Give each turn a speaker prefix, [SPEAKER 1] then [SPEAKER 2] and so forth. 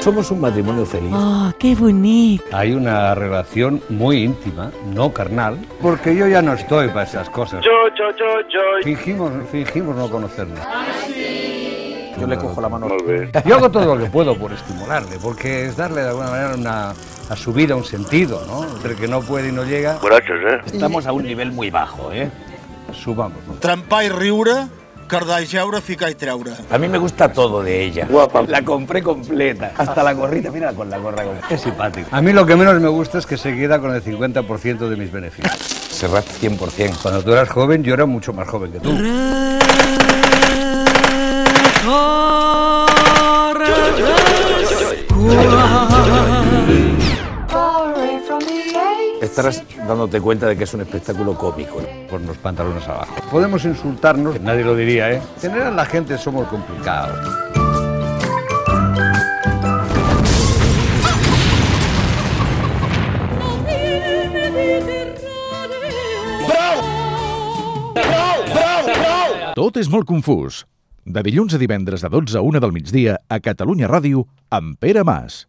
[SPEAKER 1] Somos un matrimonio feliz.
[SPEAKER 2] ¡Oh, qué bonito!
[SPEAKER 3] Hay una relación muy íntima, no carnal, porque yo ya no estoy para esas cosas.
[SPEAKER 4] Yo, yo, yo, yo.
[SPEAKER 3] Fingimos, fingimos no conocernos.
[SPEAKER 5] Yo le cojo la mano.
[SPEAKER 4] Molt bé.
[SPEAKER 3] Yo hago todo lo que puedo por estimularle, porque es darle de alguna manera una, a su vida un sentido, ¿no? Entre el que no puede y no llega,
[SPEAKER 4] Borratxos, eh?
[SPEAKER 5] Estamos a un nivel muy bajo, ¿eh?
[SPEAKER 3] subamos. ¿no?
[SPEAKER 6] Trempar i riure, cardar i geure, ficar i treure.
[SPEAKER 5] A mí me gusta todo de ella.
[SPEAKER 4] Guapa.
[SPEAKER 5] La compré completa. Hasta la gorrita, mira con la gorra. completa.
[SPEAKER 3] Es simpático. A mí lo que menos me gusta es que se queda con el 50% de mis beneficios.
[SPEAKER 5] Serrat 100%.
[SPEAKER 3] Cuando tú eras joven, yo era mucho más joven que tú.
[SPEAKER 5] Estarás dándote cuenta de que es un espectáculo cómico.
[SPEAKER 3] Con los pantalones abajo. Podemos insultarnos, que nadie lo diría, ¿eh? En general, la gente somos complicados.
[SPEAKER 7] Tot és molt confús. De dilluns a divendres de 12 a 1 del migdia a Catalunya Ràdio amb Pere Mas.